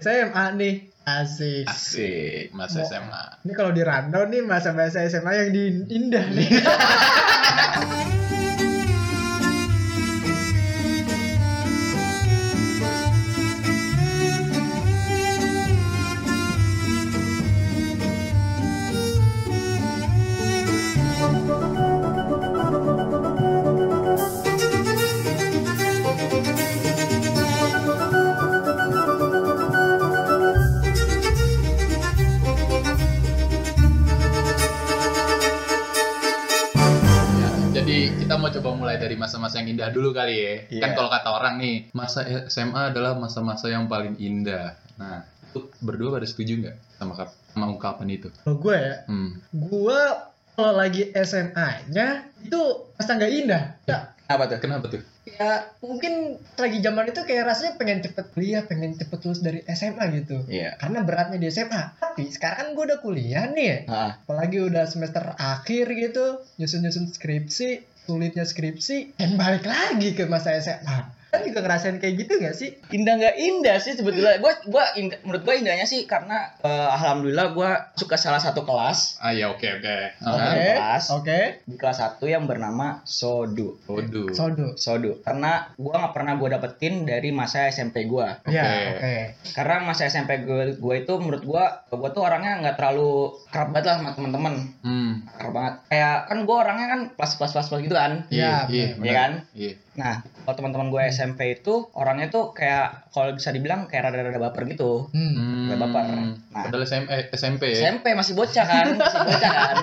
SMA nih. Asik. Asik, masa Iya. Mau- SMA. Ini kalau di rundown nih masa-masa SMA yang diindah nih. Ya, jadi kita mau coba mulai dari masa-masa yang indah dulu kali ya. Iya. Kan kalau kata orang nih, masa SMA adalah masa-masa yang paling indah. Nah, lu berdua pada setuju nggak sama, kap- sama ungkapan itu? Kalau gue ya, Hmm. gue kalau lagi SMA-nya itu masa nggak indah. Ya, Apa tuh? Kenapa tuh? ya mungkin lagi zaman itu kayak rasanya pengen cepet kuliah, pengen cepet lulus dari SMA gitu. Iya. Karena beratnya di SMA. Tapi sekarang kan gue udah kuliah nih. ya. Ah, Apalagi udah semester akhir gitu, nyusun-nyusun skripsi, sulitnya skripsi, dan balik lagi ke masa SMA. Kan juga ngerasain kayak gitu gak sih? indah nggak indah sih sebetulnya. Gua gua indah- menurut gua indahnya sih karena eh, alhamdulillah gua suka salah satu kelas. Ah ya oke oke. Oke. Ah, kelas. Nah, Oke. di kelas 1 yang bernama Sodu. Waduh. Sodo. Sodu. Karena gua nggak pernah gua dapetin dari masa SMP gua. Ya, Oke. oke. Karena masa SMP gua, gua itu menurut gua gua tuh orangnya nggak terlalu kerap banget lah sama teman-teman. Hmm. Kerap banget. Kayak kan gua orangnya kan plus plus plus plus gitu kan. Ya, Iya, iya, bener. bener. Iya kan? Iya. Nah, kalau teman-teman gue SMP itu orangnya tuh kayak kalau bisa dibilang kayak rada-rada baper gitu. Hmm. Hmm. Nggak baper. Nah. Padahal SM, eh, SMP ya. SMP masih bocah kan, masih bocah kan.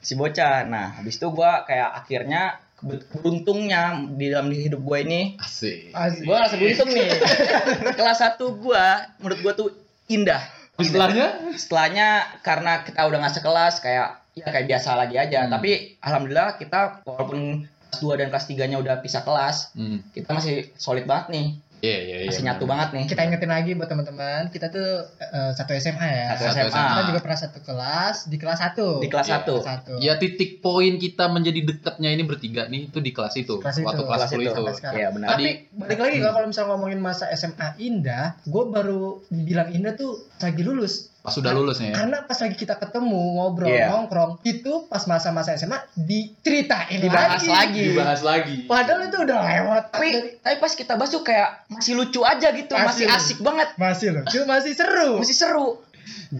masih bocah. Nah, habis itu gue kayak akhirnya kebe- beruntungnya di dalam hidup gue ini, Asik. Asik. gue rasa beruntung nih. Kelas 1 gue, menurut gue tuh indah. Indah. Istilahnya? Setelahnya karena kita udah nggak sekelas kayak ya kayak biasa lagi Hmm. aja. Tapi alhamdulillah kita walaupun kelas 2 dan kelas 3-nya udah pisah kelas, Hmm. kita masih solid banget nih. Iya, iya, iya. Masih bener. nyatu banget nih. Kita ingetin lagi buat teman-teman, kita tuh eh, satu SMA ya. Satu Satu SMA. SMA. Kita juga pernah satu kelas di kelas satu. Di kelas Iya. 1. Satu. Ya titik poin kita menjadi dekatnya ini bertiga nih itu di kelas itu. Kelas itu. Waktu kelas, Kelas 10 itu. itu. Sampai sekarang. Iya, benar. Tadi- Tapi balik lagi kalau misalnya ngomongin masa SMA indah, gue baru dibilang indah tuh lagi lulus. Pas sudah lulus nih ya. Karena pas lagi kita ketemu ngobrol Iya. nongkrong itu pas masa-masa SMA diceritain Dibahas lagi. Dibahas lagi. Padahal itu udah lewat. Dari- tapi tapi pas kita bahas tuh kayak masih lucu aja gitu Masih masih, lucu. asik banget masih lucu, masih seru. masih seru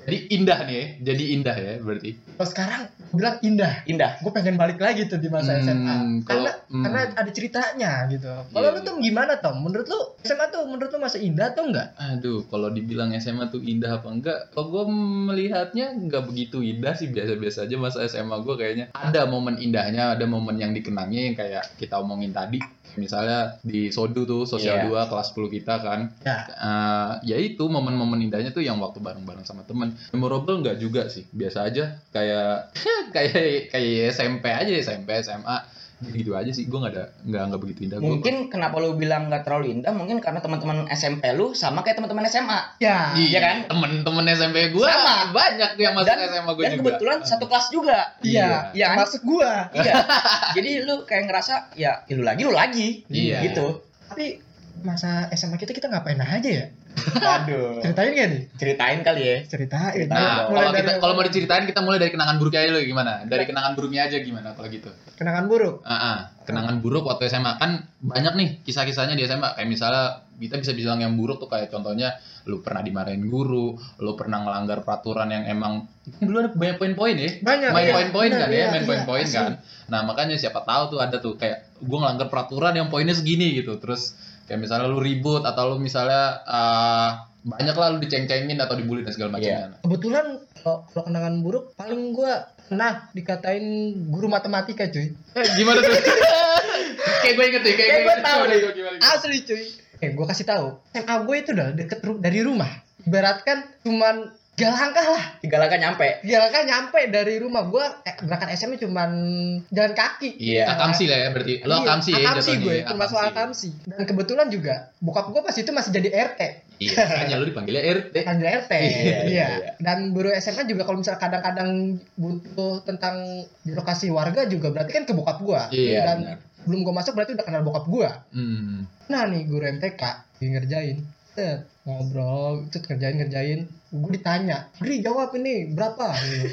Jadi indah nih ya. Jadi indah ya berarti. Kalau Oh, sekarang gua bilang indah. indah gue pengen balik lagi tuh di masa Hmm, SMA karena kalau- hmm. karena ada ceritanya gitu kalau Iya, lu tuh gimana Tom menurut lu SMA tuh menurut lu masih indah atau enggak Aduh, kalau dibilang SMA tuh indah apa enggak? Kalau gue melihatnya nggak begitu indah sih biasa-biasa aja masa SMA gue kayaknya ada momen indahnya, ada momen yang dikenangnya yang kayak kita omongin tadi. Misalnya di Sodu tuh, sosial Iya. 2 kelas 10 kita kan. ya Eh, ya itu momen-momen indahnya tuh yang waktu bareng-bareng sama temen memorable nggak juga sih biasa aja kayak kayak kayak SMP aja SMP SMA gitu aja sih gue nggak ada nggak nggak begitu indah Gua- mungkin kenapa lu bilang nggak terlalu indah mungkin karena teman-teman SMP lu sama kayak teman-teman SMA ya iya Iya kan? kan temen-temen SMP gue Sama. banyak yang masuk dan, SMA gue dan juga Ah. Nah, kebetulan satu kelas juga iya Iya kan? masuk gua iya jadi lu kayak ngerasa ya "Ih, lu lagi lu lagi Iya. gitu tapi masa SMA kita kita ngapain aja ya aduh ceritain gak nih ceritain kali ya ceritain Nah, Mulai kalau kita dari- kalau mau diceritain kita mulai dari kenangan buruknya aja lo gimana? Dari kenangan buruknya aja gimana kalau gitu? kenangan buruk Ah, ah. kenangan buruk waktu SMA kan banyak nih kisah-kisahnya di SMA kayak misalnya kita bisa bilang yang buruk tuh kayak contohnya lu pernah dimarahin guru, lu pernah ngelanggar peraturan yang emang kan dulu ada banyak poin-poin ya. Banyak, main iya, poin-poin benar, kan iya, ya, main iya, poin-poin asli. kan. Nah, makanya siapa tahu tuh ada tuh kayak gua ngelanggar peraturan yang poinnya segini gitu. Terus kayak misalnya lu ribut atau lu misalnya ah, banyak lah lu diceng-cengin atau dibully dan segala macamnya. kebetulan kalau kalau kenangan buruk paling gua nah dikatain guru matematika cuy Eh, gimana tuh? kayak gue inget deh, kayak, Kayak gue gua inget. tahu Coba deh. gua gimana, gimana. Asli cuy. Eh gue kasih tahu. SMA gue itu udah deket ru- dari rumah. Ibaratkan cuman tiga langkah lah. tiga langkah nyampe Tiga langkah nyampe dari rumah gue. Eh, berangkat SMA cuman jalan kaki. Iya. Akamsi lah ya berarti. Iya, Lo akamsi ya Akamsi jatuhnya gue, ya, termasuk akamsi. Dan kebetulan juga bokap gue pas itu masih jadi RT. Iya, hanya lo dipanggilnya RT. Panggil RT. Iya, iya, iya. Dan guru SMA juga kalau misalnya kadang-kadang butuh tentang lokasi warga juga berarti kan ke bokap gue. Iya, Dan benar. belum gue masuk berarti udah kenal bokap gue. Hmm. Nah nih guru MTK lagi ngerjain. Set. ngobrol itu kerjain kerjain gue ditanya Gri jawab ini berapa gitu.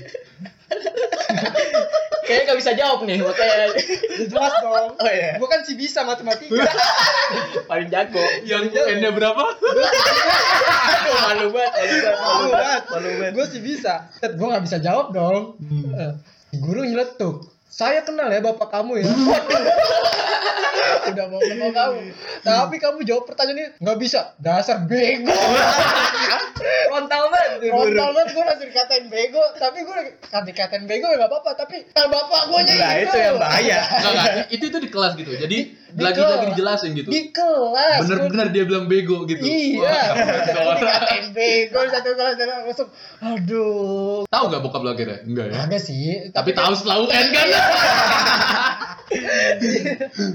Kayaknya nggak bisa jawab nih, makanya Ya, jelas dong oh iya, gue kan sih bisa matematika paling jago. Yang N-nya berapa? Aduh, malu banget, malu banget, malu banget, malu banget. gue sih bisa Set, gue nggak bisa jawab dong Hmm. Eh, si guru nyeletuk saya kenal ya bapak kamu ya udah mau kenal kamu tapi kamu jawab pertanyaan ini nggak bisa dasar bego Frontal banget tuh guru. Frontal banget gue langsung dikatain bego tapi gue kan dikatain bego ya nggak apa-apa tapi nah, bapak gue nya Nah, itu yang bahaya. Enggak, enggak. Itu itu di kelas gitu. Jadi di lagi-lagi kelas. dijelasin gitu. di kelas gua- Bener-bener dia bilang bego gitu. iya Tapi dikatain bego satu kelas satu kelas. langsung aduh Tahu nggak bokap lo akhirnya? Enggak ya. ada sih Tapi tahu setelah UN kan?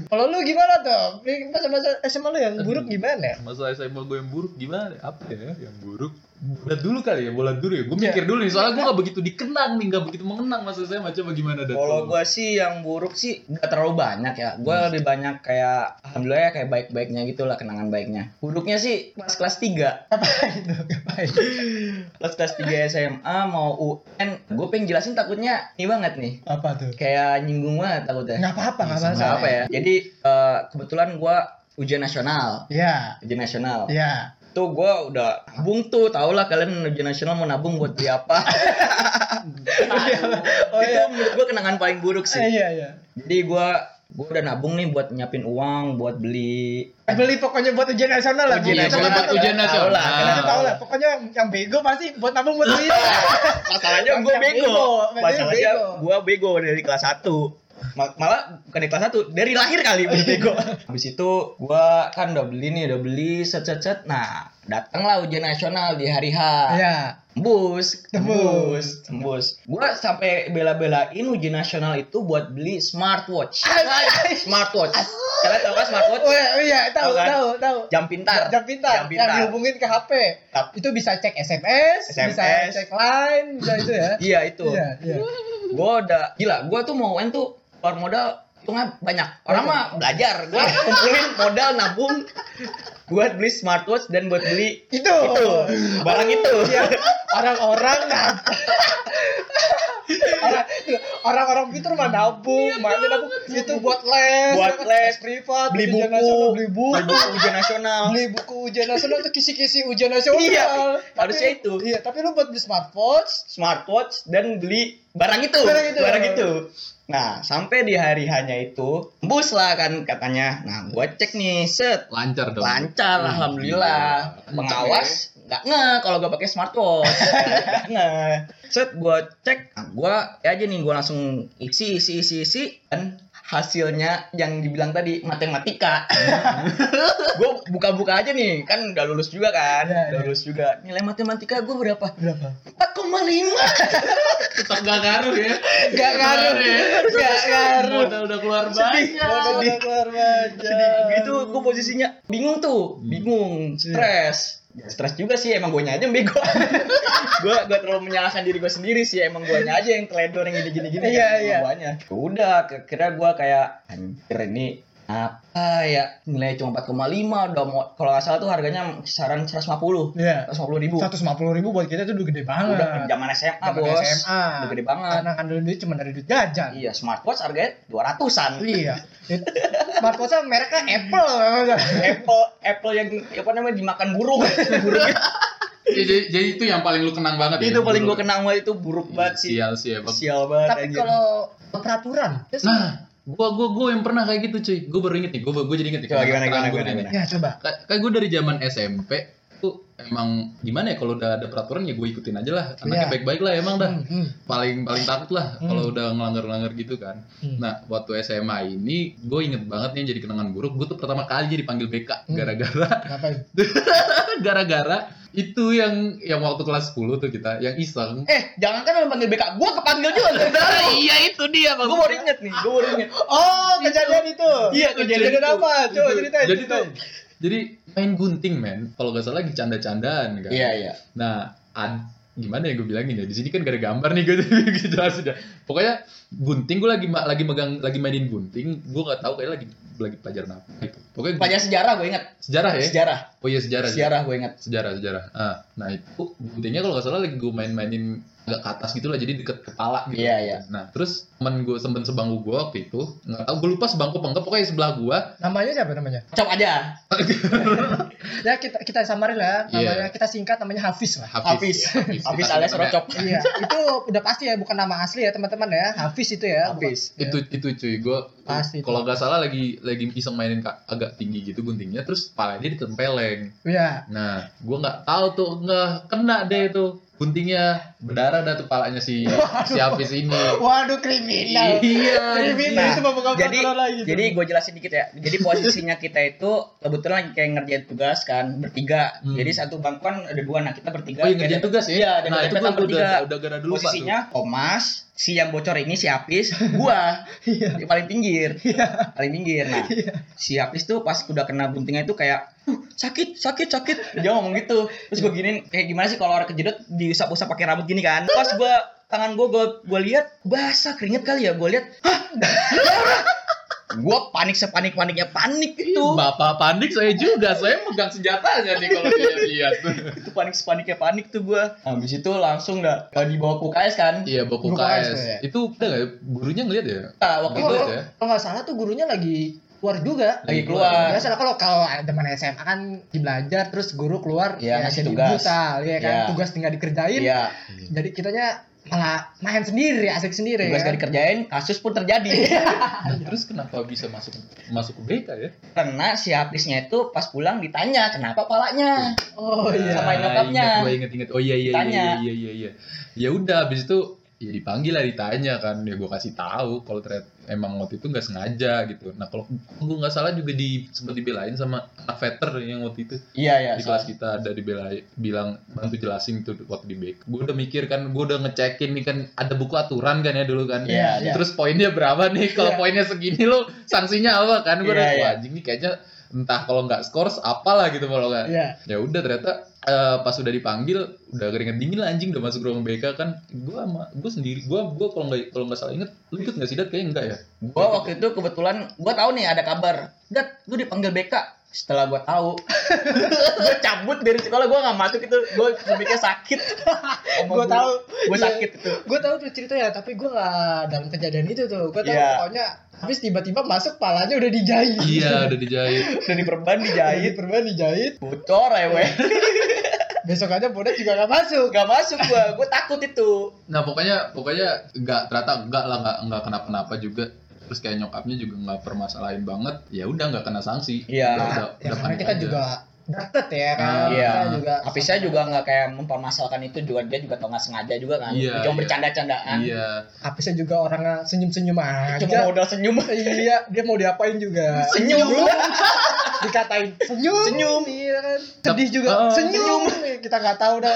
kalau lu gimana tuh Di masa-masa SMA lu yang buruk gimana Masalah SMA gue yang buruk gimana? Apa ya yang buruk? Bola dulu kali ya, bola dulu ya. Gue mikir dulu nih, soalnya gue gak begitu dikenang nih, gak begitu mengenang masa SMA. Coba gimana dat? Kalau gua sih yang buruk sih nggak terlalu banyak ya. Gua lebih banyak kayak alhamdulillah ya kayak baik-baiknya gitu lah kenangan baiknya. Buruknya sih pas kelas 3. apa itu ngapain Pas kelas 3 SMA mau UN, gue pengen jelasin takutnya ini banget nih. apa tuh Kayak nyinggung banget takutnya. nggak apa-apa nggak Nggak masalah apa ya. Jadi eh, kebetulan gua ujian nasional, ya ujian nasional. ya Tuh gua udah nabung tuh, tau lah kalian ujian nasional mau nabung buat beli apa. Oh, iya. Itu menurut gua kenangan paling buruk sih. Eh, iya iya Jadi gua gua udah nabung nih buat nyiapin uang buat beli Eh, beli pokoknya buat ujian nasional lah Ujian Gua nasional, coba- coba- ujian nasional. Tau lah, kalian Kita Ah. tahu lah, pokoknya yang bego pasti buat nabung buat Iya. beli. Masalahnya Yang gue yang bego. bego, yang Masalahnya bego. gue bego dari kelas 1. Ma- Malah bukan dari kelas 1, dari lahir kali udah bego. Habis itu gue kan udah beli nih, udah beli set set set. Nah, datanglah ujian nasional di hari H. Iya. Tembus. Tembus, tembus, tembus. Gue sampai bela-belain ujian nasional itu buat beli smartwatch. Smartwatch. Kalian tau kan smartwatch? Oh iya, iya, tahu Tahu kan? tahu tahu. Jam pintar. Jam pintar. Jam Yang pintar. dihubungin ke HP. Tap- Itu bisa cek SMS, bisa SMS. cek line, bisa itu ya. Iya itu. Iya, iya. gue udah gila gue tuh mau UN tuh keluar modal hitungnya banyak orang mah belajar gue kumpulin modal nabung buat beli smartwatch dan buat beli Itu. itu barang itu Oh. Iya. Orang-orang nab- Orang- orang-orang itu mah nabung, mana nabung itu buat les, ya Buat kan? les, privat, beli ujian buku. nasional, beli Beli buku, buku ujian nasional beli buku ujian nasional itu kisi-kisi ujian nasional. Iya, Tapi- harusnya itu. Iya, tapi lu buat beli smartwatch, smartwatch dan beli barang itu Barang itu. itu. nah sampai di hari hanya itu bus lah kan katanya nah gue cek nih set Lancar dong. lancar Hmm, alhamdulillah iya. pengawas nggak nge kalau gue pakai smartwatch nggak nge set gue cek nah, gue ya aja nih gue langsung isi isi isi isi dan hasilnya yang dibilang tadi matematika Hmm. gue buka-buka aja nih kan udah lulus juga kan Iya, udah iya. lulus juga nilai matematika gue berapa berapa? 4,5 Tetap gak ngaruh ya. Gak ngaruh, gak ngaruh. Modal udah keluar banyak. Sedih, keluar banyak. gitu gue posisinya Hmm. bingung tuh Iya. bingung stres Ya, stres juga sih emang gue aja yang bego gue gue terlalu menyalahkan diri gue sendiri sih emang gue aja yang teledor yang gini gini gini Iya, kan, iya. guanya. udah ke- kira gue kayak anjir ini apa ya nilai cuma 4,5 udah mau kalau nggak salah tuh harganya kisaran 150 Iya. 150 ribu Seratus lima puluh ribu buat kita itu udah gede banget. udah zaman SMA Zaman bos SMA. udah gede banget Anak kandung duit cuma dari duit jajan. iya smartwatch harganya 200an Iya. Smartphone mereknya Apple. Apple Apple yang apa namanya dimakan burung burungnya Ya, Jadi, jadi itu yang paling lu kenang banget ya. itu paling gue kenang banget itu buruk banget sih Sial sih emang. sial banget Tapi anjir. kalau peraturan, terus- Nah, gua gua gua yang pernah kayak gitu cuy. Gua baru inget nih, gua gua jadi inget nih. Coba gimana, kenangan gimana, gua gimana, ini. gimana? ya coba. Kay- kayak gue dari zaman SMP tuh emang gimana ya kalau udah ada peraturan ya gue ikutin aja lah anaknya Iya. baik-baik lah emang dah Hmm, hmm. paling paling takut lah Hmm. kalau udah ngelanggar-langgar gitu kan Hmm. nah waktu SMA ini gue inget banget nih jadi kenangan buruk gue tuh pertama kali jadi panggil BK Hmm. gara-gara Ngapain? gara-gara itu yang yang waktu kelas 10 tuh kita yang iseng eh jangan kan lo panggil BK gue kepanggil juga iya itu dia gue baru inget nih gue baru inget Oh, kejadian itu. Iya, kejadian itu. apa? Coba ceritain. jadi tuh ceritain. jadi main gunting men kalau nggak salah lagi canda-candaan kan iya iya Nah, ad- gimana ya gue bilangin ya? Di sini kan gak ada gambar nih gue gue jelasin ya. Pokoknya gunting gue lagi ma- lagi megang lagi mainin gunting, gue nggak tahu kayak lagi lagi pelajaran apa gitu. Pokoknya gua- Pelajaran iya. sejarah gue inget. sejarah ya. Sejarah. Oh iya sejarah. Sejarah gue inget. Sejarah, sejarah. Ah, nah itu buktinya kalau nggak salah lagi gue main-mainin agak ke atas gitu lah, jadi deket kepala gitu. Iya, iya. Nah, terus temen gue, temen sebangku gue waktu itu, nggak tahu gue lupa sebangku apa enggak, pokoknya sebelah gue, Namanya siapa namanya? Cop aja. Ya kita kita samarin lah. Namanya kita singkat namanya Hafiz lah. Hafiz. Hafiz. ya, Habis Kita alias sebutnya- rocop. Iya, itu udah pasti ya bukan nama asli ya teman-teman ya. Hafiz itu ya. bukan- Hafiz. ya. itu itu cuy gue Pasti itu. kalau nggak salah lagi lagi iseng mainin ka- agak tinggi gitu guntingnya terus palanya ditempeleng Iya. nah gue nggak tahu tuh nggak kena deh itu guntingnya berdarah dah tuh palanya si si Hafiz ini Waduh kriminal. iya Kriminal anjing. itu mau buka jadi perkara lagi. tuh. jadi gue jelasin dikit ya jadi posisinya kita itu kebetulan lagi kayak ngerjain tugas kan bertiga Hmm. jadi satu bangku kan ada dua nah kita oh bertiga iya, ngerjain Ada- tugas ya iya ada nah itu peta gue bertiga udah udah gara dulu posisinya Thomas si yang bocor ini si Apis gua Iya. di paling pinggir paling pinggir nah si Apis tuh pas udah kena buntingnya itu kayak "Uh, sakit sakit sakit dia ngomong gitu terus gue giniin kayak gimana sih kalau orang kejedot diusap-usap pakai rambut gini kan pas gua tangan gua gua, gua lihat basah keringet kali ya gua lihat hah darah." gua panik sepanik paniknya panik itu tuh bapak panik saya juga saya megang senjatanya nih kalau dilihat itu panik sepaniknya panik tuh gua habis itu langsung dah dah dibawa ke UKS kan iya bapak Guru KS KS ya? itu udah nggak ya? gurunya ngeliat ya nah, Kalau- waktu itu Gitu ya. kalau nggak salah tuh gurunya lagi keluar juga. lagi keluar Biasa lah kalau kalau teman SMA kan lagi belajar terus guru keluar Iya, ngasih jadi tugas. brutal, ya kan Iya. tugas tinggal dikerjain. iya Jadi kitanya malah main sendiri, asik sendiri. tugas kan? gak dikerjain kasus pun terjadi Nah, terus kenapa bisa masuk masuk ke BK ya karena si Hapisnya itu pas pulang ditanya kenapa palanya Oh iya. Sama nyokapnya. Gue inget-inget. Oh iya iya Tanya. iya iya iya iya. Ya udah habis itu ya dipanggil lah ditanya kan ya gue kasih tahu kalau ternyata emang waktu itu nggak sengaja gitu nah kalau gue nggak salah juga di sempat dibelain sama anak veter yang waktu itu iya iya di kelas kita ada dibelai bilang bantu jelasin tuh waktu di BK gue udah mikir kan gue udah ngecekin nih kan ada buku aturan kan ya dulu kan Iya, iya. terus poinnya berapa nih kalau Iya. poinnya segini lo sanksinya apa kan gue Iya, udah iya. wah anjing nih kayaknya entah kalau nggak skors apalah gitu kalau nggak Iya. ya udah ternyata eh, pas udah dipanggil udah keringet dingin lah anjing udah masuk ruang BK kan gua sama gua sendiri gua gua kalau nggak kalau nggak salah inget lu ikut nggak sih dat kayaknya enggak ya gue waktu itu kebetulan gue tahu nih ada kabar dat gue dipanggil BK setelah gue tahu gue cabut dari sekolah gue nggak masuk itu gue berpikir sakit Gue tahu. gue sakit itu Gue tahu tuh ceritanya, tapi gue nggak dalam kejadian itu tuh. Gue tahu Iya. pokoknya habis tiba-tiba masuk palanya udah dijahit. iya udah dijahit dari perban Jahit dijahit perban dijahit. bocor ya weh Besok aja bodoh juga nggak masuk. gak masuk gue gue takut itu nah pokoknya pokoknya nggak ternyata enggak lah nggak nggak kenapa-napa juga terus kayak nyokapnya juga nggak permasalahin banget ya udah nggak kena sanksi Iya. udah, udah, Ya, udah karena panik kita aja. juga deket ya kan. Ah, iya. Kita juga. Hapisnya juga nggak kayak mempermasalahkan itu juga dia juga tau nggak sengaja juga kan Iya, cuma iya. kan. bercanda-candaan iya Hapisnya juga orangnya senyum-senyum aja. cuma modal senyum iya, dia mau diapain juga. Senyum. Dikatain senyum. Senyum. Iya kan. Tapi- Sedih juga. Ah. senyum. Kita nggak tahu dah.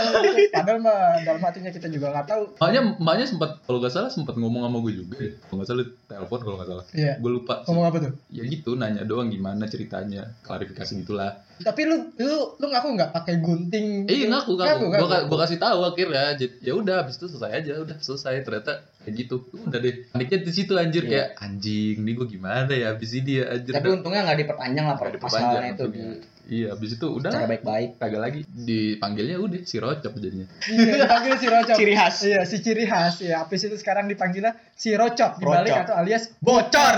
Padahal mah dalam hatinya kita juga nggak tahu. makanya makanya sempat kalau nggak salah sempat ngomong sama gue juga deh kalau nggak salah telepon kalau nggak salah Iya. gue lupa Ngomong apa tuh? ya gitu nanya doang gimana ceritanya klarifikasi gitulah Tapi lu lu lu ngaku nggak pakai gunting? Eh, Iya, gitu? ngaku ngaku. Gua ka- gua kasih tahu akhirnya. Jadi, Ya udah habis itu selesai aja, udah selesai. Ternyata kayak gitu. Udah deh. Paniknya di situ anjir Iya. kayak anjing, ini gua gimana ya habis ini ya anjir. tapi untungnya nggak diperpanjang lah Udah permasalahan itu untungnya. Iya, habis itu di udah cara baik-baik kagak lagi dipanggilnya udah si Rocop jadinya. Iya, dipanggil si Rocop. Ciri khas. Iya, si ciri khas. Ya, habis itu sekarang dipanggilnya si Rocop dibalik Rocop. atau alias bocor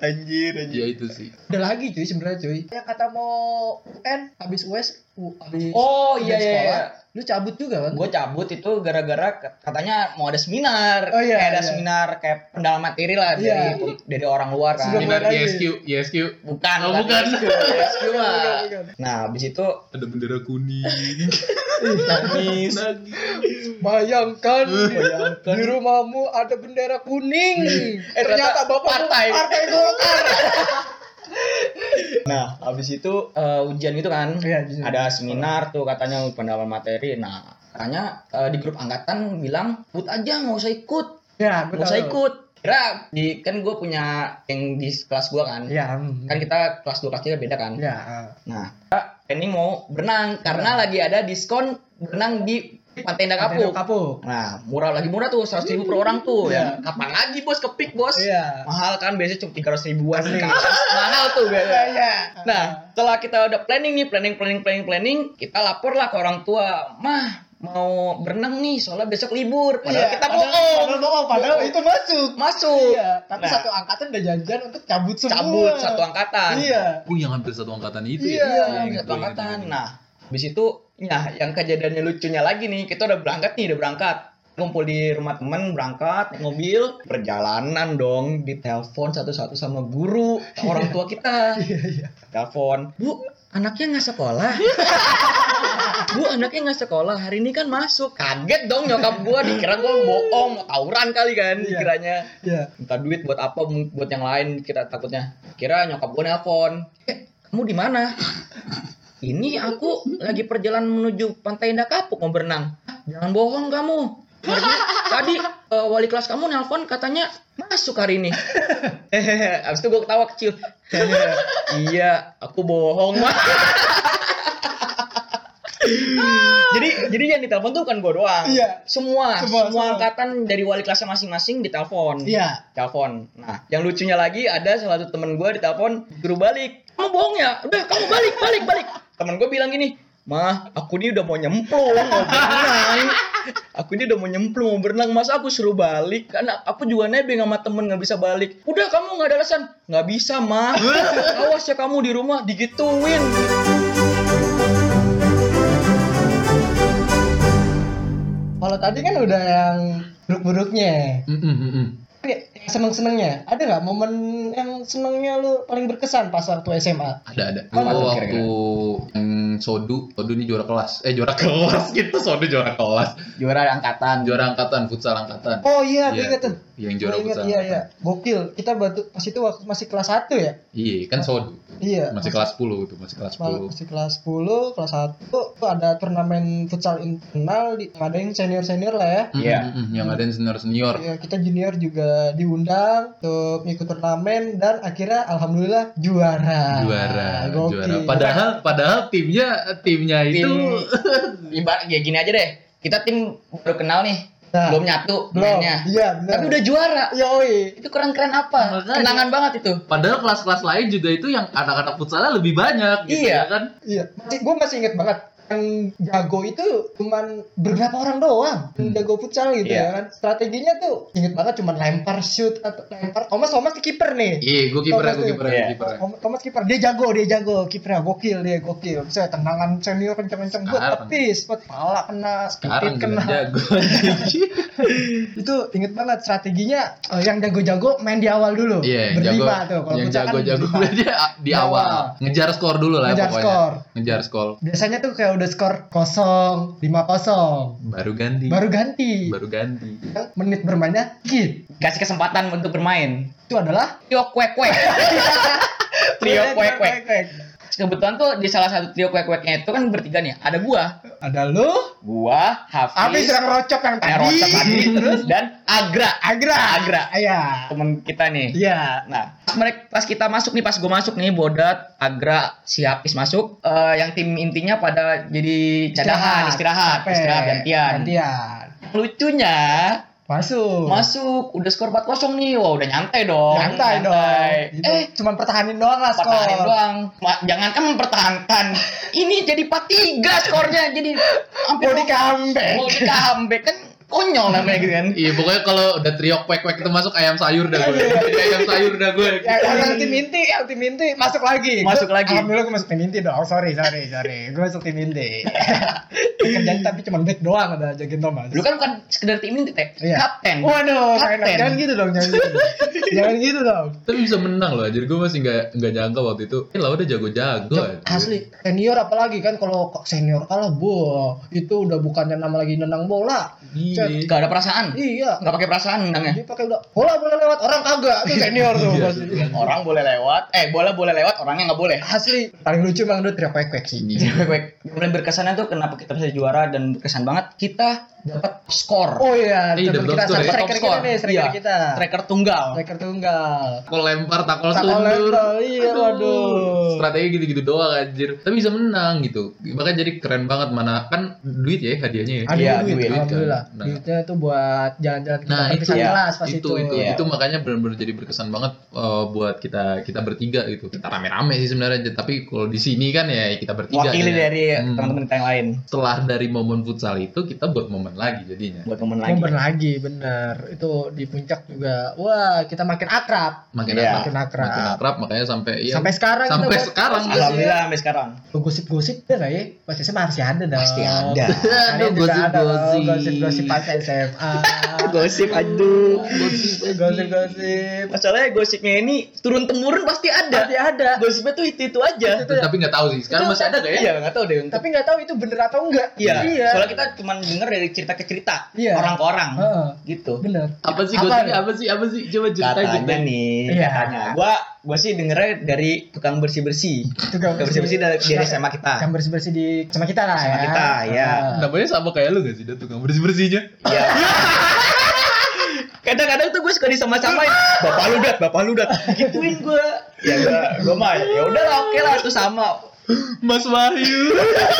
anjir anjir Ya itu sih. udah lagi cuy sebenarnya cuy. Yang Ya, kata mau UN habis US u- habis oh iya habis iya sekolah, Lu cabut juga kan? gue cabut itu gara-gara ke- katanya mau ada seminar Oh, iya, kayak ada iya. seminar kayak pendalaman materi lah Iya. dari dari orang luar kan Sebelum- Seminar lagi. ISQ, ISQ. bukan Oh, bukan. rescue, rescue Bukan, lah. bukan, bukan. nah habis itu Ada bendera kuning. nangis Nagi. Bayangkan, Bayangkan. di rumahmu ada bendera kuning. Eh, ternyata partai. partai Golkar. Nah, habis itu eh, ujian gitu kan. Iya, ujian. Ada seminar tuh katanya pendalaman materi. Nah, katanya eh, di grup angkatan bilang, "Put aja nggak usah ikut, ya, gue nggak usah tahu. ikut." Kira di kan gue punya yang di kelas gue kan. Ya, mm. Kan kita kelas 2 kelas 3 beda kan. ya. Iya. Nah, Kak, ini mau berenang karena lagi ada diskon berenang di Pantai Indah Ada Kapuk. kapuk. Nah, murah lagi murah tuh, 100 ribu per orang tuh. Iya. Ya. Kapan lagi bos kepik bos? Iya. Mahal kan biasanya cuma 300 ribuan. kan? Asli. Mahal tuh biasanya. Iya. Nah, setelah kita udah planning nih, planning, planning, planning, planning, kita lapor lah ke orang tua, mah mau berenang nih, soalnya besok libur. Padahal Iya, kita padahal- bohong. Iya. Padahal bohong, padahal itu masuk. Masuk. Iya, tapi Nah. satu angkatan udah janjian untuk cabut semua. Cabut satu angkatan. Iya. Oh yang hampir satu angkatan Iya, itu gitu. ya? Iya, Yang satu gue ingat angkatan. dulu. Nah, habis itu ya yang kejadiannya lucunya lagi nih, kita udah berangkat nih, udah berangkat. Ngumpul di rumah temen, berangkat, naik mobil, perjalanan dong, ditelepon satu-satu sama guru, orang tua kita. Iya, iya. Telepon, Bu, anaknya nggak sekolah. Bu, anaknya nggak sekolah, hari ini kan masuk. Kaget dong nyokap gua, dikira gua bohong, mau tawuran kali kan, Iya. dikiranya Iya. minta duit buat apa m- buat yang lain kita takutnya kira nyokap gue nelpon eh kamu di mana ini aku lagi perjalanan menuju pantai indah kapuk mau berenang "Hah, jangan bohong kamu Harusnya tadi eh, wali kelas kamu nelpon katanya masuk hari ini Hehehe, abis itu gue ketawa kecil Hehehe, iya aku bohong mah jadi jadi yang ditelepon tuh bukan gue doang Iya. semua Semua, semua, semua. angkatan kan dari wali kelasnya masing-masing ditelepon Iya. telepon. Nah, yang lucunya lagi ada salah satu temen gue ditelepon guru balik. Kamu bohong ya? Udah, kamu balik, balik, balik. Temen gue bilang gini, Mah, aku ini udah mau nyemplung, mau berenang. Aku ini udah mau nyemplung, mau berenang. Masa aku suruh balik? Karena aku juga nebeng sama temen, gak bisa balik. Udah, kamu gak ada alasan. Gak bisa, mah. Awas ya kamu di rumah, digituin. Kalau tadi kan udah yang buruk-buruknya. Mm-mm, mm-mm. Tapi yang seneng-senengnya, ada nggak momen yang senengnya lu paling berkesan pas waktu SMA? Ada ada. Apa Gua tuh waktu yang Sodu, Sodu ini juara kelas. Eh juara kelas gitu, Sodu juara kelas. Juara angkatan. Juara angkatan, futsal angkatan. Oh iya, gue Iya, inget tuh. Yang Gue juara inget, futsal. iya, iya. Gokil. Kita batu, pas itu waktu masih kelas 1 ya? Iya, kan Sodu. Iya. Masih kelas 10 itu, masih kelas Mal- 10. masih kelas 10, kelas 1 tuh ada turnamen futsal internal di ada yang senior-senior lah ya. Mm-mm, Iya. mm-mm, Mm, Yang ada yang senior-senior. Ya, kita junior juga diundang untuk ikut turnamen dan akhirnya alhamdulillah juara. Juara, Ah, Gokil. juara. Padahal padahal timnya timnya Tim, itu ibarat ya gini aja deh. Kita tim baru kenal nih. Nah. belum nyatu belum. mainnya. Iya, benar. Tapi udah juara. yoi. itu keren-keren apa? Makanya. Kenangan banget itu. Padahal kelas-kelas lain juga itu yang anak-anak futsalnya lebih banyak gitu Iya. ya kan? Iya, masih gue masih inget banget yang jago itu cuman beberapa orang doang yang Hmm. jago futsal gitu Iya. ya kan strateginya tuh inget banget cuman lempar shoot atau lempar Thomas Thomas kiper nih Iya, gue kiper, Thomas gue tuh. kiper, Iya. gue kiper. Thomas Thomas kiper dia jago dia jago kipernya gokil dia gokil saya tendangan senior kenceng-kenceng buat Sekarang. tepis buat pala kena Sekarang sedikit juga kena jago. itu inget banget strateginya eh, yang jago-jago main di awal dulu Iya, yang jago, berlima tuh kalau yang futsal kan jago-jago berlima. dia di awal ngejar skor dulu lah ya Ngejar pokoknya. skor. Ngejar skor. biasanya tuh kayak udah skor kosong lima kosong Baru ganti. baru ganti Baru ganti. Yang menit bermainnya sedikit Kasih kesempatan untuk bermain. itu adalah Trio kuek-kuek. trio kuek-kuek. Kebetulan tuh di salah satu trio kuek-kueknya itu kan bertiga nih. Ada gua. ada lu Gua, habis Hafiz, yang rocok yang tadi yang rocak tadi, terus dan Agra. agra Agra. iya Temen kita nih. iya Nah, pas mereka pas kita masuk nih, pas gue masuk nih, Bodat, Agra, si Hafiz masuk, eh, yang tim intinya pada jadi cadangan, istirahat, Capek. istirahat, gantian. gantian Lucunya, masuk masuk, udah skor 4-0 nih, wah udah nyantai dong. santai dong Gitu. Eh, cuman pertahanin doang lah skor pertahanin doang. Ma- jangankan mempertahankan. Ini jadi 4-3 skornya. Jadi mau ampun di comeback mau di comeback kan konyol namanya gitu kan. Iya, pokoknya kalau udah trio kuek-kuek itu masuk ayam sayur dah gue. Iya. Jadi ayam sayur dah gue. Ya, yang tim inti, yang tim inti masuk lagi. Masuk Gua- lagi. Alhamdulillah gue masuk tim inti dong. Oh, Sorry, sorry, sorry. Gue masuk tim inti. Kerjaan tapi cuma back doang ada jagain Thomas. Lu kan bukan sekedar tim inti, Teh. Iya. Kapten. Waduh, Kapten. mainan. jangan gitu dong, jangan gitu. jangan gitu dong. Tapi bisa menang loh, anjir. Gue masih nggak nggak nyangka waktu itu. Eh, lawannya jago-jago. anjir. Asli senior apalagi kan kalau kok senior kalah bu itu udah bukannya nama lagi nendang bola. Iya. Gak ada perasaan. Iya. Gak pakai perasaan nendangnya. Dia pakai udah bola boleh lewat orang kagak tuh senior tuh Iya, pasti. iya. Orang boleh lewat, eh bola boleh lewat, orangnya nggak boleh. Asli paling lucu emang udah teriak kuek kuek sih. Ini. Baik, baik. Kemudian berkesannya tuh kenapa kita bisa juara dan berkesan banget kita dapat skor. Oh iya, Ih, teman double kita score sama ya. striker Top kita score. nih, striker Iya. kita. Striker tunggal. Striker tunggal. Takol lempar, takol Takol tundur. lempar, iya, waduh. Strategi gitu-gitu doang anjir. Tapi bisa menang gitu. Makanya jadi keren banget mana kan duit ya hadiahnya ya. Ada Iya, duit, duit kan. alhamdulillah. Nah. Duitnya tuh buat jalan-jalan ke Nah, tempat itu, wisata ya. lah pas itu itu. itu Iya. itu makanya benar-benar jadi berkesan banget eh, buat kita kita bertiga gitu kita rame-rame sih sebenarnya tapi kalau di sini kan ya kita bertiga Wakili ya. dari Hmm. teman-teman kita yang lain setelah dari momen futsal itu kita buat momen lagi jadinya buat teman lagi. Momen lagi, bener. Itu di puncak juga. Wah, kita makin akrab. makin Iya, akrab makin akrab. makin akrab makanya sampai ya, sampai sekarang sampai kita buat- sekarang Alhamdulillah sampai sekarang. Lu gosip-gosip ada nggak ya? Pas SMA masih ada dong. Pasti ada. Kalian Aduh, juga ada dong, gosip-gosip. Gosip-gosip pas SMA. Gosip aduh. Gosip-gosip. Masalahnya gosipnya ini turun temurun pasti ada. Pasti ada. Gosipnya tuh itu itu aja. Itu tapi nggak tahu sih sekarang Itu- masih ada gak ya Iya, nggak tahu deh. Tapi nggak tahu itu bener atau enggak. Iya. Iya. Soalnya kita cuma denger dari cerita ke cerita, Iya. orang ke orang. Heeh. Gitu. Bener. apa sih Apa gosipnya ya? apa sih apa sih coba ceritain Katanya ceritain. nih, Iya. katanya. Gua gua sih dengernya dari tukang bersih-bersih. Tukang Tukang bersih-bersih dari, dari SMA Kan kita. bersih-bersih di sama kita lah Ah. Sama ya. kita, ya. Heeh. namanya sama kayak lu gak sih dia tukang bersih bersihnya Iya. Kadang-kadang tuh gue suka disama-samain. Bapak lu dat, bapak lu dat. Gituin gue. Ya gue, gue mah ya udahlah oke lah itu sama. Mas Wahyu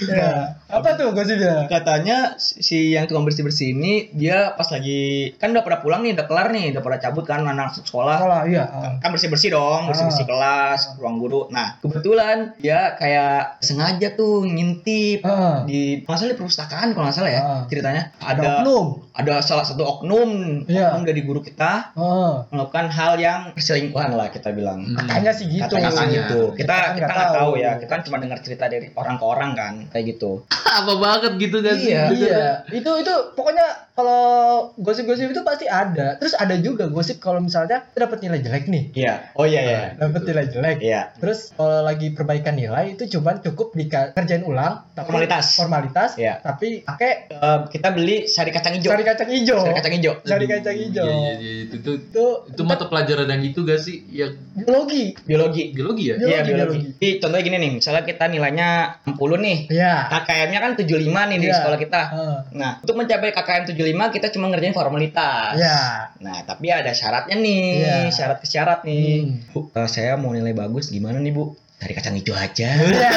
Ya. Apa tuh gosipnya? Katanya si yang tukang bersih-bersih ini dia pas lagi kan udah pada pulang nih, udah kelar nih, udah pada cabut kan anak sekolah. Salah, iya. kan bersih bersih dong bersih Ah. bersih kelas ruang guru nah kebetulan dia kayak sengaja tuh ngintip Heeh. di masalah di perpustakaan kalau nggak salah ya Ah. ceritanya Ada ada oknum. ada salah satu oknum Iya. oknum dari guru kita Heeh. melakukan hal yang perselingkuhan lah kita bilang Katanya sih gitu. Hmm. katanya sih Katanya. gitu kita Kita kan kita nggak nggak tahu tahu. ya kita kan cuma dengar cerita dari orang ke orang kan kayak gitu apa banget gitu kan Iya, Iya, itu itu pokoknya kalau gosip-gosip itu pasti ada. Terus ada juga gosip kalau misalnya kita dapat nilai jelek nih. iya oh iya iya Dapat nilai jelek. iya Terus kalau lagi perbaikan nilai itu cuman cukup dikerjain ulang tapi- Formalitas. Formalitas, Iya. tapi pakai Eh, kita beli sari kacang hijau cari kacang hijau. sari kacang hijau Dari Aduh, kacang hijau. iya, iya, iya, itu tuh Itu itu mata pelajaran yang itu gak sih yang biologi. biologi biologi ya Biologi, Iya biologi. biologi. Jadi contohnya gini nih, misalnya kita nilainya 60 nih. Iya. KKM-nya kan 75 nih di Iya. sekolah kita. Heeh. Nah, untuk mencapai KKM 75 kita cuma ngerjain formalitas. Iya. Nah, tapi ada syaratnya nih, Iya. syarat ke syarat nih. Hmm. Bu, eh, saya mau nilai bagus gimana nih, Bu? Cari kacang hijau aja. Iya.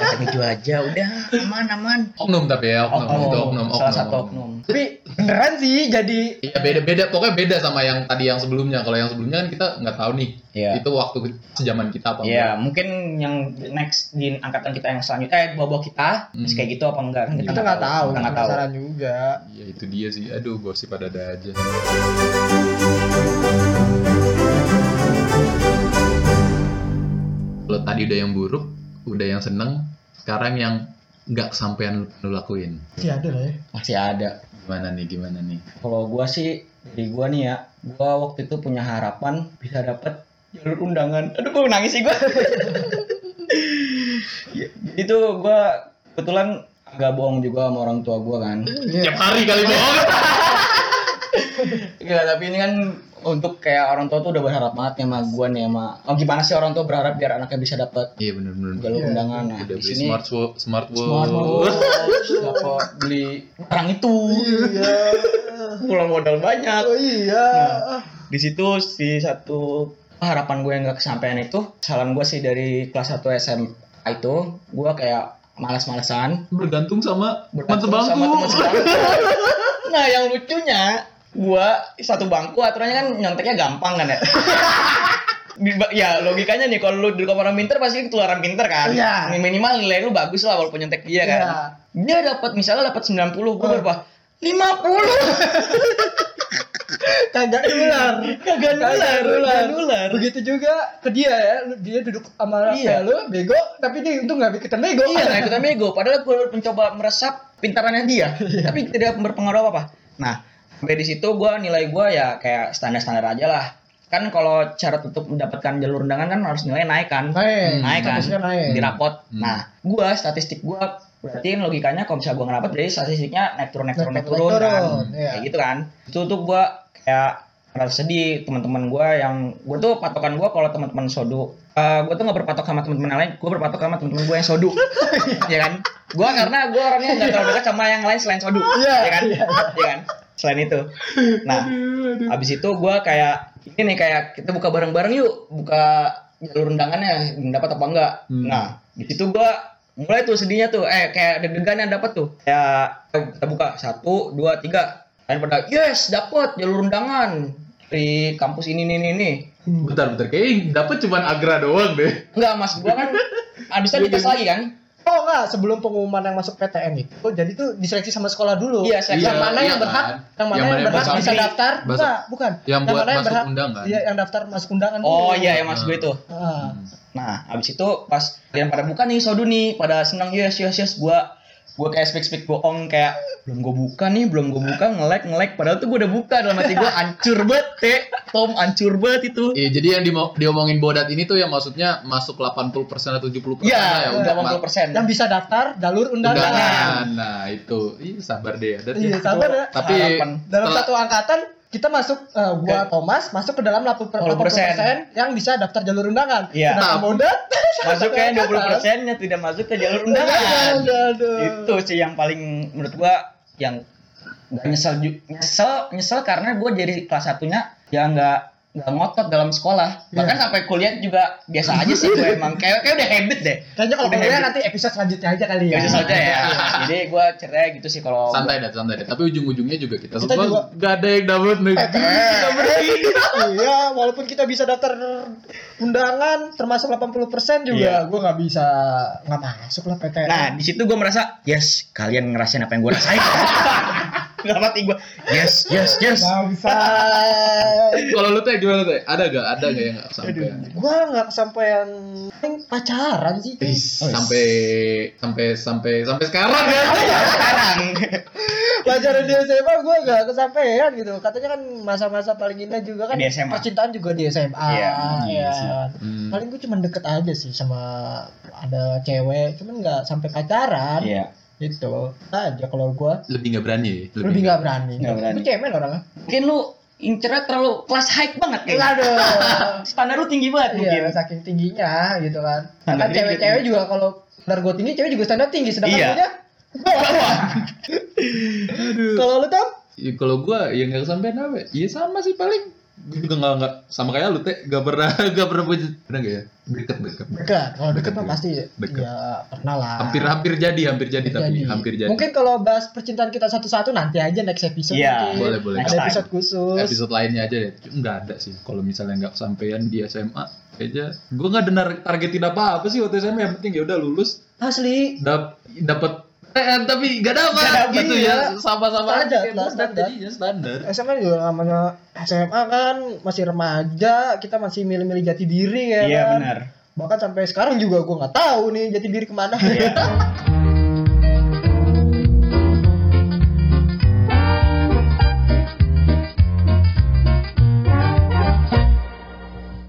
kacang hijau aja, udah aman aman. oknum tapi ya oknum Oknum. itu oknum Salah satu oknum. Tapi beneran sih jadi Iya beda beda pokoknya beda sama yang tadi yang sebelumnya. Kalau yang sebelumnya kan kita nggak tahu nih Iya. itu waktu sejaman kita apa enggak. Iya, mungkin yang next di angkatan kita yang selanjutnya eh bawah kita Hmm. masih kayak gitu apa enggak? Kan Kita kita nggak tahu, Kita nggak tahu. penasaran juga. Iya itu dia sih. Aduh gosip ada ada aja. Kalau tadi udah yang buruk, udah yang seneng, sekarang yang nggak kesampaian lu lakuin. Masih ada lah ya. Masih ada. Gimana nih gimana nih? Kalau gua sih dari gua nih ya, gua waktu itu punya harapan bisa dapat jalur undangan. Aduh gua nangis sih gua. Ya, itu gua kebetulan agak bohong juga sama orang tua gua kan. Iya. Tiap hari kali bohong. Enggak, tapi ini kan untuk kayak orang tua tuh udah berharap banget nih sama gua nih sama oh, gimana sih orang tua berharap biar anaknya bisa dapat Iya bener bener. jalur Iya, undangan. Nah, Udah di beli sini smartwatch, smartwatch. smartwatch, dapat beli barang itu. Iya. Pulang modal banyak. Oh iya. di situ si satu harapan gue yang gak kesampaian itu saran gue sih dari kelas 1 SMA itu gue kayak malas-malasan Bergantung sama teman bergantung sebangku. sama teman sebangku nah yang lucunya gue satu bangku aturannya kan nyonteknya gampang kan ya Di ba- ya logikanya nih kalau lu di orang pinter pasti ketularan pinter kan Iya. minimal nilai lu bagus lah walaupun nyontek dia kan Iya. dia dapat misalnya dapat 90 gue berapa 50 Kagak nular. kagak nular Iya. nular. kagak nular Begitu juga ke dia ya, lu- dia duduk sama kayak Iya. lu bego, tapi dia untung nggak ikutan bego. Iya, nggak ikutan bego. Padahal gue mencoba meresap pintarannya dia, Iya. tapi tidak berpengaruh apa-apa. Nah, sampai di situ gue nilai gue ya kayak standar-standar aja lah. Kan kalau cara tutup mendapatkan jalur undangan kan harus nilai naik kan? Naik, naik kan? statusnya naik. Di rapot. Hmm. Nah, gue statistik gue berarti logikanya kalau misalnya gue ngerapat berarti statistiknya naik turun naik turun naik Naik turun, turun, kan? iya. Kayak gitu kan? Itu tuh gue kayak merasa sedih teman-teman gue yang gue tuh patokan gue kalau teman-teman sodu eh, eh, gue tuh gak berpatok sama teman-teman yang lain, gue berpatok sama teman-teman gue yang sodu, ya kan? Gue karena gue orangnya gak terlalu dekat sama yang lain selain sodu, Iya, ya kan? Ya kan? Selain itu, nah abis itu gue kayak ini nih kayak kita buka bareng-bareng yuk, buka jalur undangannya dapat apa enggak? Hmm. Nah di situ gue mulai tuh sedihnya tuh, eh kayak deg-degan yang dapat tuh, ya kita buka satu, dua, tiga, dan pada yes dapat jalur undangan di kampus ini nih nih nih Bentar bentar kayaknya dapat cuman Agra doang deh. Enggak mas, gua kan abisnya dites lagi kan? Oh enggak, sebelum pengumuman yang masuk PTN itu, Oh, jadi tuh diseleksi sama sekolah dulu. Iya, seleksi. yang Iya, mana iya yang berhak, kan. yang mana Yang yang, mana yang berhak masuk bisa ini. daftar? Masuk- Enggak, bukan. yang buat mana masuk kan? undangan. Iya, yang daftar masuk undangan. dulu. Oh iya ya mas gue itu. Ah. Nah abis itu pas kalian pada buka nih sodu nih, pada senang yes yes yes gua gua kayak speak speak bohong kayak belum gue buka nih, belum gue buka ngelek ngelek. Padahal tuh gue udah buka dalam hati gue ancur banget, te. Tom ancur banget itu. Iya, jadi yang dimo- diomongin Bodat ini tuh yang maksudnya masuk 80% atau 70% lah ya, Iya, udah ma- 80 persen. Yang bisa daftar jalur undangan. undangan. Nah, itu. Ih, sabar deh, Adat Iya, ya. sabar ya. Tapi Harapan. Dalam setelah- satu angkatan kita masuk eh, gua Thomas masuk ke dalam 80 80%. 80% yang bisa daftar jalur undangan. Iya. Sedangkan Nah. Bodat Masuk kayak 20 persennya tidak masuk ke jalur undangan. Gitu. Aduh, aduh. itu sih yang paling menurut gua yang gak nyesel ju- nyesel nyesel karena gua jadi kelas satunya ya nggak nggak ngotot dalam Iya. sekolah bahkan sampai kuliah juga biasa aja sih gue emang kayak kayak udah habit deh Kayaknya kalau Udah kuliah kan- habit. nanti episode selanjutnya aja kali ya. biasa saja ya jadi gua cerai gitu sih kalau santai deh, santai deh. Tapi ujung-ujungnya juga Kita kita, semua juga- Eh, gak ada yang dapat nih. Kita berhenti. iya, walaupun kita bisa daftar undangan termasuk 80% juga, gua nggak bisa nggak masuk lah PTN. nah di situ gua merasa yes kalian ngerasain apa yang gua rasain dalam hati gua yes yes yes Bangsa. Kalau lu teh gimana teh? Ada gak? Ada gak yang gak sampai? gua nggak kesampaian paling pacaran sih. Ih, sampai sampai sampai sampai sekarang ya. sekarang Pacaran di SMA gua nggak kesampaian gitu. Katanya kan masa-masa paling indah juga kan Di SMA. percintaan juga di SMA. Iya, iya. sih. Hmm. Paling gua cuman deket aja sih sama ada cewek, cuman nggak sampai pacaran. iya Gitu. Aja kalau gua Lebih gak berani. ya? lebih nggak berani. Nggak berani. Tapi cemen orangnya. mungkin lu incernya terlalu kelas high banget kayaknya Aduh. standar lu tinggi banget Iya. mungkin iya, saking tingginya gitu kan. Karena Standar cewek-cewek juga kalau standar gue tinggi, cewek juga standar tinggi. Sedangkan Iya. gue nya bawah. Kalau lu tuh Ya, kalau gua yang nggak kesampaian apa? ya? Iya sama sih paling Gua juga nggak nggak sama kayak lu teh nggak pernah nggak pernah punya pernah nggak ya deket deket dekat, kalau dekat mah Dekat. pasti Dekat. ya pernah lah. hampir hampir jadi hampir jadi tapi Jadi. hampir jadi Mungkin kalau bahas percintaan kita satu-satu nanti aja next episode. Iya. mungkin. Boleh, boleh. Ada Next time. episode khusus. episode lainnya aja deh nggak ada sih kalau misalnya nggak kesampaian di SMA aja gua nggak ada nar- targetin apa apa sih waktu SMA yang penting ya udah lulus Asli. dap dapat PTN tapi nggak dapat Nggak dapet, gitu iya. ya Standar sama-sama aja, lah, standar standar. jadinya standar SMA juga namanya SMA kan masih remaja, kita masih milih-milih jati diri ya. iya kan? benar Iya. Bahkan sampai sekarang juga gue nggak tahu nih jati diri kemana.